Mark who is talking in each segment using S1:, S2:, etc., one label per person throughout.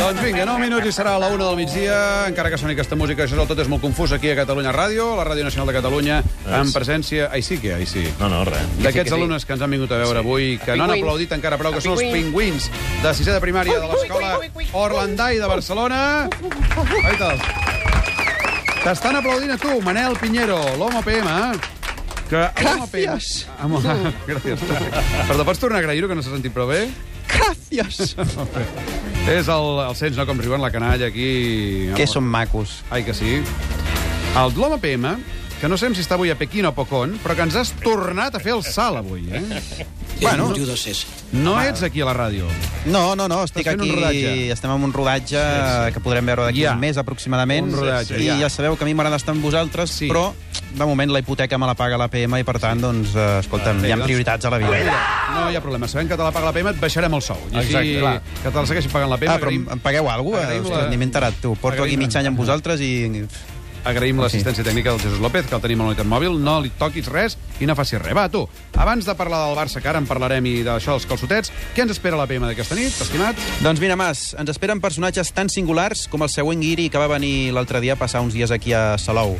S1: Doncs vinga, 9 minuts i serà a la 1 del migdia. Encara que soni aquesta música, això és el tot és molt confús aquí a Catalunya Ràdio, la Ràdio Nacional de Catalunya, en presència... Ai, sí que, ai, sí.
S2: No, no, res.
S1: D'aquests alumnes que ens han vingut a veure avui, que no han
S3: Pingüins.
S1: aplaudit encara prou, que són els
S3: Pingüins.
S1: pingüins de sisè de primària de l'escola Orlandai de Barcelona. Oites. T'estan aplaudint a tu, Manel Pinheiro, l'home PM, eh? que... Gràcies. Gràcies. Perdó, pots tornar a agrair-ho, que no s'ha sentit prou bé?
S4: Gràcies.
S1: És el, el sents, no? Com riuen la canalla aquí...
S4: Que són macos.
S1: Ai, que sí. El Loma PM, que no sabem si està avui a Pequín o Pocón, però que ens has tornat a fer el salt avui, eh? Bueno, no ets aquí a la ràdio.
S4: No, no, no, estic
S1: Estàs fent
S4: aquí...
S1: un rodatge.
S4: Estem en un rodatge que podrem veure d'aquí
S1: Ja.
S4: un mes, aproximadament.
S1: Un rodatge,
S4: I
S1: ja.
S4: ja. sabeu que a mi m'agrada estar amb vosaltres,
S1: Sí.
S4: però de moment la hipoteca me la paga la PM i, per tant, doncs, eh, escolta'm,
S1: Bé,
S4: hi ha
S1: doncs-
S4: prioritats a la vida.
S1: No hi ha problema. Sabem que te la paga la PM, et baixarem el sou. I així
S2: Exacte, clar.
S1: que te la segueixi pagant la PM.
S4: Ah, però em em pagueu alguna cosa?
S1: Agraïm la-
S4: Ostres, ni m'he enterat, tu. Porto
S1: Agraïm la-
S4: aquí mig any amb vosaltres i...
S1: Agraïm
S4: Ah, Sí.
S1: l'assistència tècnica del Jesús López, que el tenim a la unitat mòbil. No li toquis res i no facis res. Va, tu, abans de parlar del Barça, que ara en parlarem, i d'això dels calçotets, què ens espera la PM d'aquesta nit, estimat?
S4: Doncs mira, Mas, ens esperen personatges tan singulars com el següent guiri que va venir l'altre dia a passar uns dies aquí a Salou.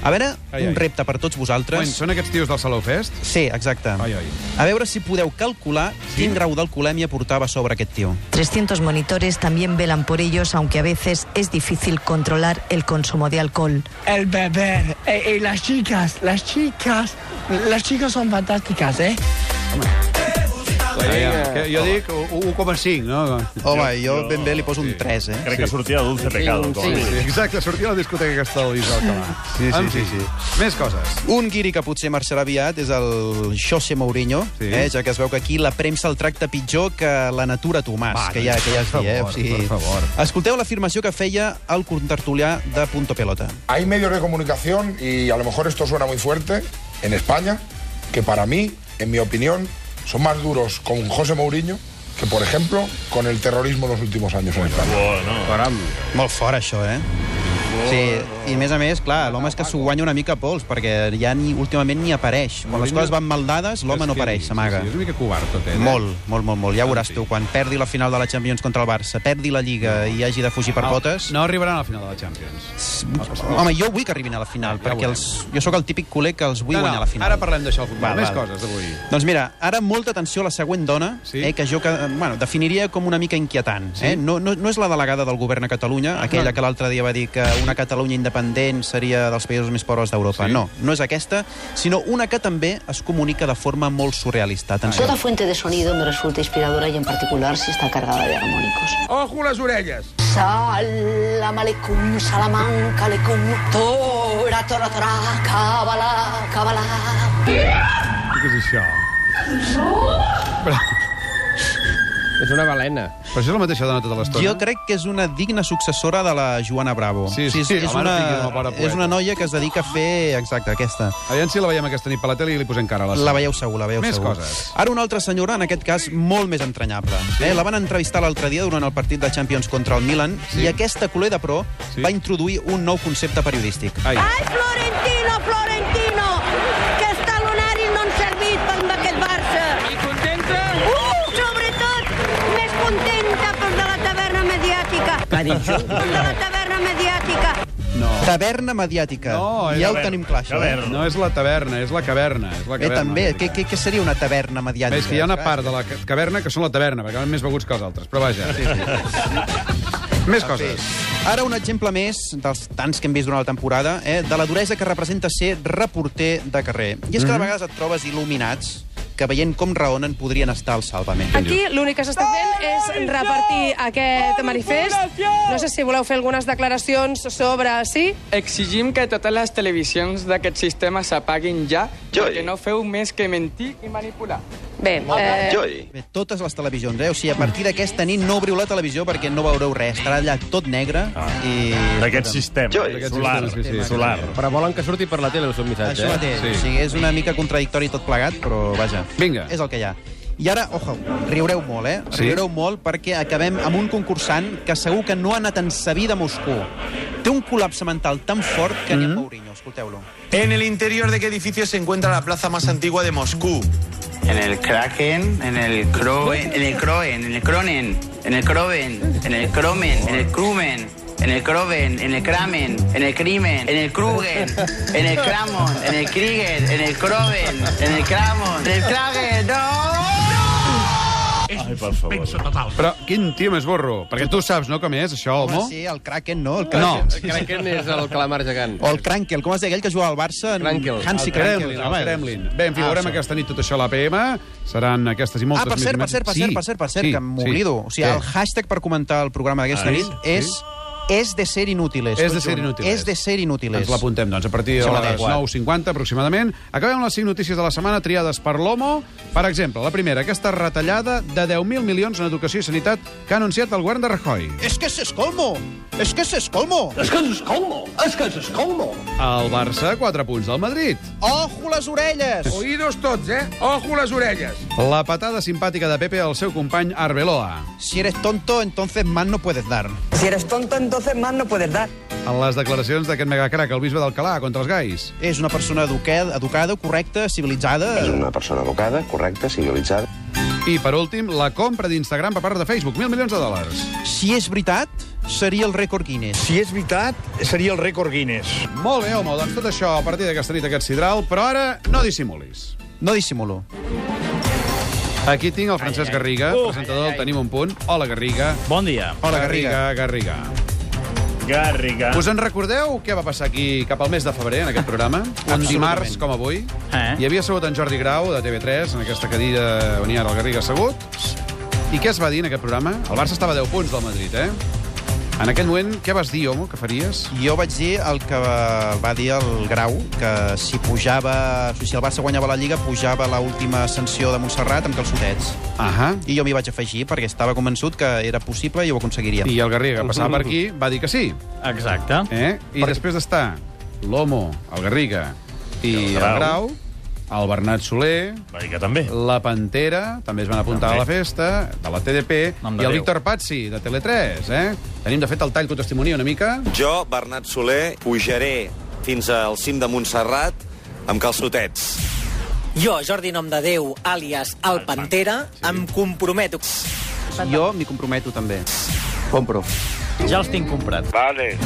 S4: A veure,
S1: Ai, ai.
S4: un repte per tots
S1: Bueno,
S4: vosaltres.
S1: són aquests tios del Salou Fest?
S4: Sí, exacte.
S1: Ai, ai.
S4: A veure si podeu calcular sí. quin grau d'alcoholèmia portava a sobre aquest tio.
S5: 300 monitores también velan por ellos, aunque a veces es difícil controlar el consumo de alcohol.
S6: El beber. Eh, eh, las chicas, las chicas, las chicas son fantásticas, ¿eh?
S1: Que jo dic u- u- 1,5, no?
S4: Home, jo, ben bé li poso un 3, eh?
S2: Crec que sortia de Dulce Pecado. Com a
S1: Sí,
S2: mínim.
S1: exacte, sortia a la discoteca aquesta del Lluís Alcalà.
S4: Sí, sí,
S1: En fi,
S4: sí, sí.
S1: Més coses.
S4: Un guiri que potser marxarà aviat és el José Mourinho,
S1: Sí.
S4: sí. eh, ja que es veu que aquí la premsa el tracta pitjor que la natura Tomàs,
S1: Va,
S4: que ja, que ja es
S1: per
S4: diu, eh?
S1: favor, per favor.
S4: Escolteu l'afirmació que feia el contertulià de Punto Pelota.
S7: Hay medios de comunicación, y a lo mejor esto suena muy fuerte, en España, que para mí, en mi opinión, son más duros con José Mourinho que, por ejemplo, con el terrorismo en los últimos años en España.
S1: Caram.
S4: Molt fort, això, eh?
S1: Oh.
S4: Sí, i a més a més, clar, l'home és que s'ho guanya una mica a pols, perquè ja ni, últimament ni apareix. Quan les
S1: Mourinho-
S4: coses van mal dades, l'home
S1: És
S4: no
S1: que
S4: apareix,
S1: sí,
S4: s'amaga.
S1: sí, És una mica covard, tot, eh?
S4: Molt, molt, molt, molt. Ja ho veuràs
S1: Sí.
S4: tu, quan perdi la final de la Champions contra el Barça, perdi la Lliga i hagi de fugir per
S1: No,
S4: potes...
S1: No arribaran a la final de la Champions.
S4: Home, jo vull que arribin a la final,
S1: Ja
S4: perquè
S1: ho veurem.
S4: els, jo sóc el típic culer que els vull
S1: no,
S4: guanyar a
S1: no,
S4: la final.
S1: ara parlem d'això al futbol.
S4: Va,
S1: Més
S4: va.
S1: coses d'avui.
S4: Doncs mira, ara molta atenció a la següent dona,
S1: Sí.
S4: sí. eh, que jo que, bueno, definiria com una mica inquietant. Sí. Eh? No, no, no és la delegada del govern a Catalunya,
S1: Ah.
S4: aquella que l'altre dia va dir que una Catalunya independent seria dels països més pobres d'Europa.
S1: Sí.
S4: Sí. No, no és aquesta, sinó una que també es comunica de forma molt surrealista. Atenció.
S8: Toda fuente de sonido me resulta inspiradora y en particular si está cargada de armónicos.
S6: Ojo las orellas.
S8: Salam aleikum, salamanca aleikum, tora, tora, tora, cabala, cabala.
S1: Què és això?
S3: És una balena.
S1: Però això és la mateixa dona tota l'estona?
S4: Jo crec que és una digna successora de la Joana Bravo.
S1: Sí, sí,
S4: és, és,
S1: home, no diguis una
S4: una,
S1: bona poeta.
S4: és una noia que es dedica a fer... Exacte, aquesta.
S1: Aviam si la veiem aquesta nit per la tele i li posem cara a la...
S4: La veieu segur, la veieu
S1: Més
S4: segur.
S1: coses.
S4: Ara una altra senyora, en aquest cas, molt més entranyable. Sí. Eh, la van entrevistar l'altre dia durant el partit de Champions contra el Milan
S1: Sí.
S4: sí. i aquesta culer de pro
S1: Sí. Ah,
S4: sí. va introduir un nou concepte periodístic.
S1: Ai,
S9: Ai, Florentino, Florentino, que està l'onari no han servit per amb aquest Barça. I contenta? Uh, sobretot, més contenta per de la taverna mediàtica. Va dir això? Per de la taverna mediàtica.
S1: no.
S4: Taverna mediàtica.
S1: No, és
S4: ja ho
S2: taverna,
S4: tenim clar, això.
S2: taverna.
S1: No és la taverna, és la caverna. És la
S4: Eh,
S1: caverna
S4: també.
S1: la
S4: Què, què, què seria una taverna mediàtica?
S1: Ves que hi ha una part de la ca- caverna que són la taverna, perquè van més beguts que els altres, però vaja. Sí, sí. Més coses.
S4: Ara un exemple més dels tants que hem vist durant la temporada, eh, de la duresa que representa ser reporter de carrer. I és que de vegades et trobes il·luminats que veient com raonen podrien estar al salvament.
S10: Aquí l'únic que s'està fent és repartir aquest manifest. No sé si voleu fer algunes declaracions sobre sí.
S3: Exigim que totes les televisions d'aquest sistema s'apaguin ja, perquè no feu més que mentir i manipular.
S10: Bé, eh,
S4: Bé, totes les televisions, eh? O sigui, a partir d'aquesta nit no obriu la televisió perquè no veureu res. Estarà allà tot negre ah. i...
S2: D'aquest sistema
S1: D'aquest
S2: solar.
S1: sistema, sí, sí.
S2: solar.
S3: Però volen que surti per la tele eh? el seu missatge.
S4: Això mateix.
S1: Sí.
S4: Sí. O sigui, és una mica contradictori tot plegat, però vaja.
S1: Vinga.
S4: És el que hi ha. I ara, ojo, riureu molt, eh?
S1: Sí?
S4: Riureu molt perquè acabem amb un concursant que segur que no ha anat en sa vida a Moscou. Té un col·lapse mental tan fort que mm -hmm. ni a Mourinho. Escolteu-lo.
S6: En el interior de qué edificio se encuentra la plaza más antigua de Moscú.
S11: en el Kraken, en el Croen, en el Croen, en el Cronen, en el Croven, en el Cromen, en el Crumen, en el Croven, en el Kramen, en el Crimen, en el Krugen, en el Kramon, en el Krieger, en el Croven, en el Kramon, en el Kragen, ¡no!
S1: Ai, per favor. Total. Però quin tio més borro? Perquè tu saps, no, com és això,
S4: Home,
S1: Olmo?
S4: sí, el Kraken, no? El
S1: No.
S4: Kraken.
S12: El Kraken és el calamar gegant.
S4: O el Krankel, com es deia aquell que jugava al Barça? En-
S1: Krankel.
S4: Hansi
S1: El
S4: Krankel.
S1: Kremlin, el Kremlin. Bé,
S3: Ah,
S1: en fi, veurem aquesta nit tot això a l'APM. Seran aquestes i moltes
S4: Ah, per
S1: més
S4: cert, per
S1: imatges.
S4: cert, per
S1: Sí,
S4: cert, per cert, per cert
S1: sí,
S4: que
S1: sí.
S4: m'oblido. O sigui,
S1: Què?
S4: el hashtag per comentar el programa d'aquesta
S1: Ah,
S4: nit
S1: sí?
S4: és... És de ser inútiles.
S1: És de
S4: tot
S1: ser
S4: junt.
S1: inútiles.
S4: És de ser inútiles.
S1: Ens l'apuntem, doncs, a partir de
S4: Sembla
S1: les
S4: adequat.
S1: 9.50, aproximadament. Acabem amb les 5 notícies de la setmana triades per l'OMO. Per exemple, la primera, aquesta retallada de 10.000 milions en educació i sanitat que ha anunciat el govern de Rajoy.
S4: És que s'escolmo! És que s'escolmo!
S13: És que s'escolmo! És que s'escolmo!
S1: El Barça, 4 punts del Madrid.
S4: Ojo les orelles!
S13: Oídos tots, eh? Ojo les orelles!
S1: La patada simpàtica de Pepe al seu company Arbeloa.
S4: Si eres tonto, entonces más no puedes dar.
S14: Si eres tonto, entonces más no puedes dar.
S1: En les declaracions d'aquest megacrac, el bisbe d'Alcalà, contra els gais.
S4: És una persona educada, educada correcta, civilitzada...
S15: És una persona educada, correcta, civilitzada.
S1: I, per últim, la compra d'Instagram per part de Facebook, mil milions de dòlars.
S4: Si és veritat, seria el rècord Guinness.
S1: Si és veritat, seria el rècord Guinness. Molt bé, home, doncs tot això a partir d'aquesta nit, aquest sidral, però ara no dissimulis.
S4: No dissimulo.
S1: Aquí tinc el Francesc Garriga, presentador del Tenim un punt. Hola, Garriga.
S2: Bon dia.
S1: Hola, Garriga. Garriga.
S2: Garriga.
S1: Us en recordeu què va passar aquí cap al mes de febrer, en aquest programa? un
S2: Absolutament.
S1: dimarts, com avui.
S2: Eh?
S1: Hi havia assegut en Jordi Grau, de TV3, en aquesta cadira on hi ha el Garriga assegut. I què es va dir en aquest programa? El Barça estava a 10 punts del Madrid, eh? En aquell moment, què vas dir, Homo, que faries?
S4: Jo vaig dir el que va va dir el Grau, que si pujava... o sigui, Si el Barça guanyava la Lliga, pujava la última sanció de Montserrat amb calçotets.
S1: Ahà.
S4: I jo m'hi vaig afegir perquè estava convençut que era possible i ho aconseguiríem.
S1: I el Garriga passava per aquí, va dir que sí.
S2: Exacte.
S1: Eh? I Perquè... després d'estar l'Homo, el Garriga i el
S2: Grau.
S1: Grau, el Bernat Soler...
S2: Va dir que també.
S1: La Pantera, també es van apuntar
S2: També.
S1: a la festa, de la TDP,
S2: Nom
S1: i el
S2: de Déu.
S1: Víctor Pazzi, de Tele3, eh? Tenim, de fet, el tall que ho testimonia una mica.
S16: Jo, Bernat Soler, pujaré fins al cim de Montserrat amb calçotets.
S17: Jo, Jordi Nom de Déu, àlies El Pantera, em comprometo.
S4: Jo m'hi comprometo també. Compro.
S2: Ja els tinc comprats.
S1: Vale.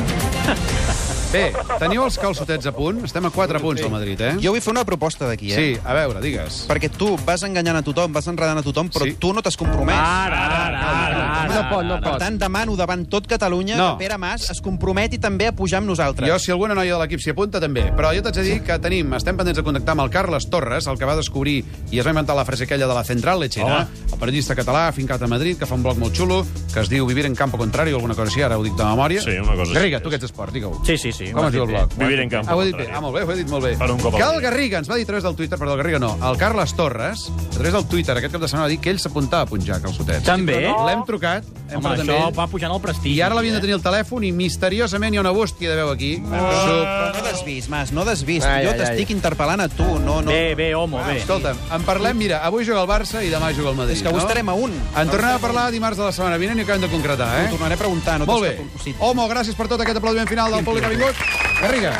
S1: Bé, teniu els calçotets a punt? Estem a 4 punts al Madrid, eh?
S4: Jo vull fer una proposta d'aquí, eh?
S1: Sí, a veure, digues.
S4: Perquè tu vas enganyant a tothom, vas enredant a tothom, però sí. tu no t'has compromès.
S2: Ah,
S4: Ara, ara, ara, ara. No pot, no pot. Per tant, demano davant tot Catalunya no.
S1: No.
S4: que Pere Mas es comprometi també a pujar amb nosaltres.
S1: Jo, si alguna noia de l'equip s'hi apunta, també. Però jo t'haig de dir que tenim, estem pendents de contactar amb el Carles Torres, el que va descobrir i es va inventar la frase aquella de la Central Lechera,
S2: Home.
S1: el periodista català afincat a Madrid, que fa un blog molt xulo, que es diu Vivir en Campo Contrario, alguna cosa així, ara ho dic de memòria.
S2: Sí, una cosa així
S1: Garriga, tu que ets esport, digue-ho.
S2: Sí, sí, sí.
S1: Com
S2: ho
S1: es diu
S2: has
S1: el
S2: dit
S1: blog?
S2: bé. Vivir en campo
S1: Ah, ho he dit bé,
S2: contrario.
S1: ah, molt bé, ho he dit molt bé.
S2: Per un cop al
S1: que el
S2: dia.
S1: Garriga ens va dir a través del Twitter, perdó, el Garriga no, el Carles Torres, a través del Twitter aquest cap de setmana va dir que ell s'apuntava a punjar calçotets.
S2: També.
S1: L'hem trucat, hem
S2: Home,
S1: parlat amb
S2: això
S1: ell.
S2: va pujant el prestigi. eh?
S1: I ara l'havien de tenir al telèfon i misteriosament hi ha una bústia de veu aquí.
S4: Però Ah. no desvis, Mas, no desvis.
S1: Ai,
S4: jo
S1: ai,
S4: t'estic interpel·lant a tu, no... no.
S1: Bé,
S2: bé, homo,
S1: bé. Escolta'm, en parlem, mira, avui juga el Barça i demà juga el Madrid.
S4: És que avui
S1: no?
S4: estarem a un.
S1: En tornarem a parlar dimarts de la setmana vinent i ho acabem de concretar, eh?
S4: Ho tornaré a preguntar, no
S1: Molt
S4: t'has
S1: bé. Homo, gràcies per tot aquest aplaudiment final del públic que ha vingut. Garriga,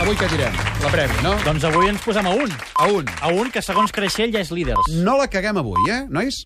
S1: avui què girem? La prèvia, no?
S2: Doncs avui ens posem a un.
S1: A un.
S2: A un, que segons Creixell ja és líders.
S1: No la caguem avui, eh, nois?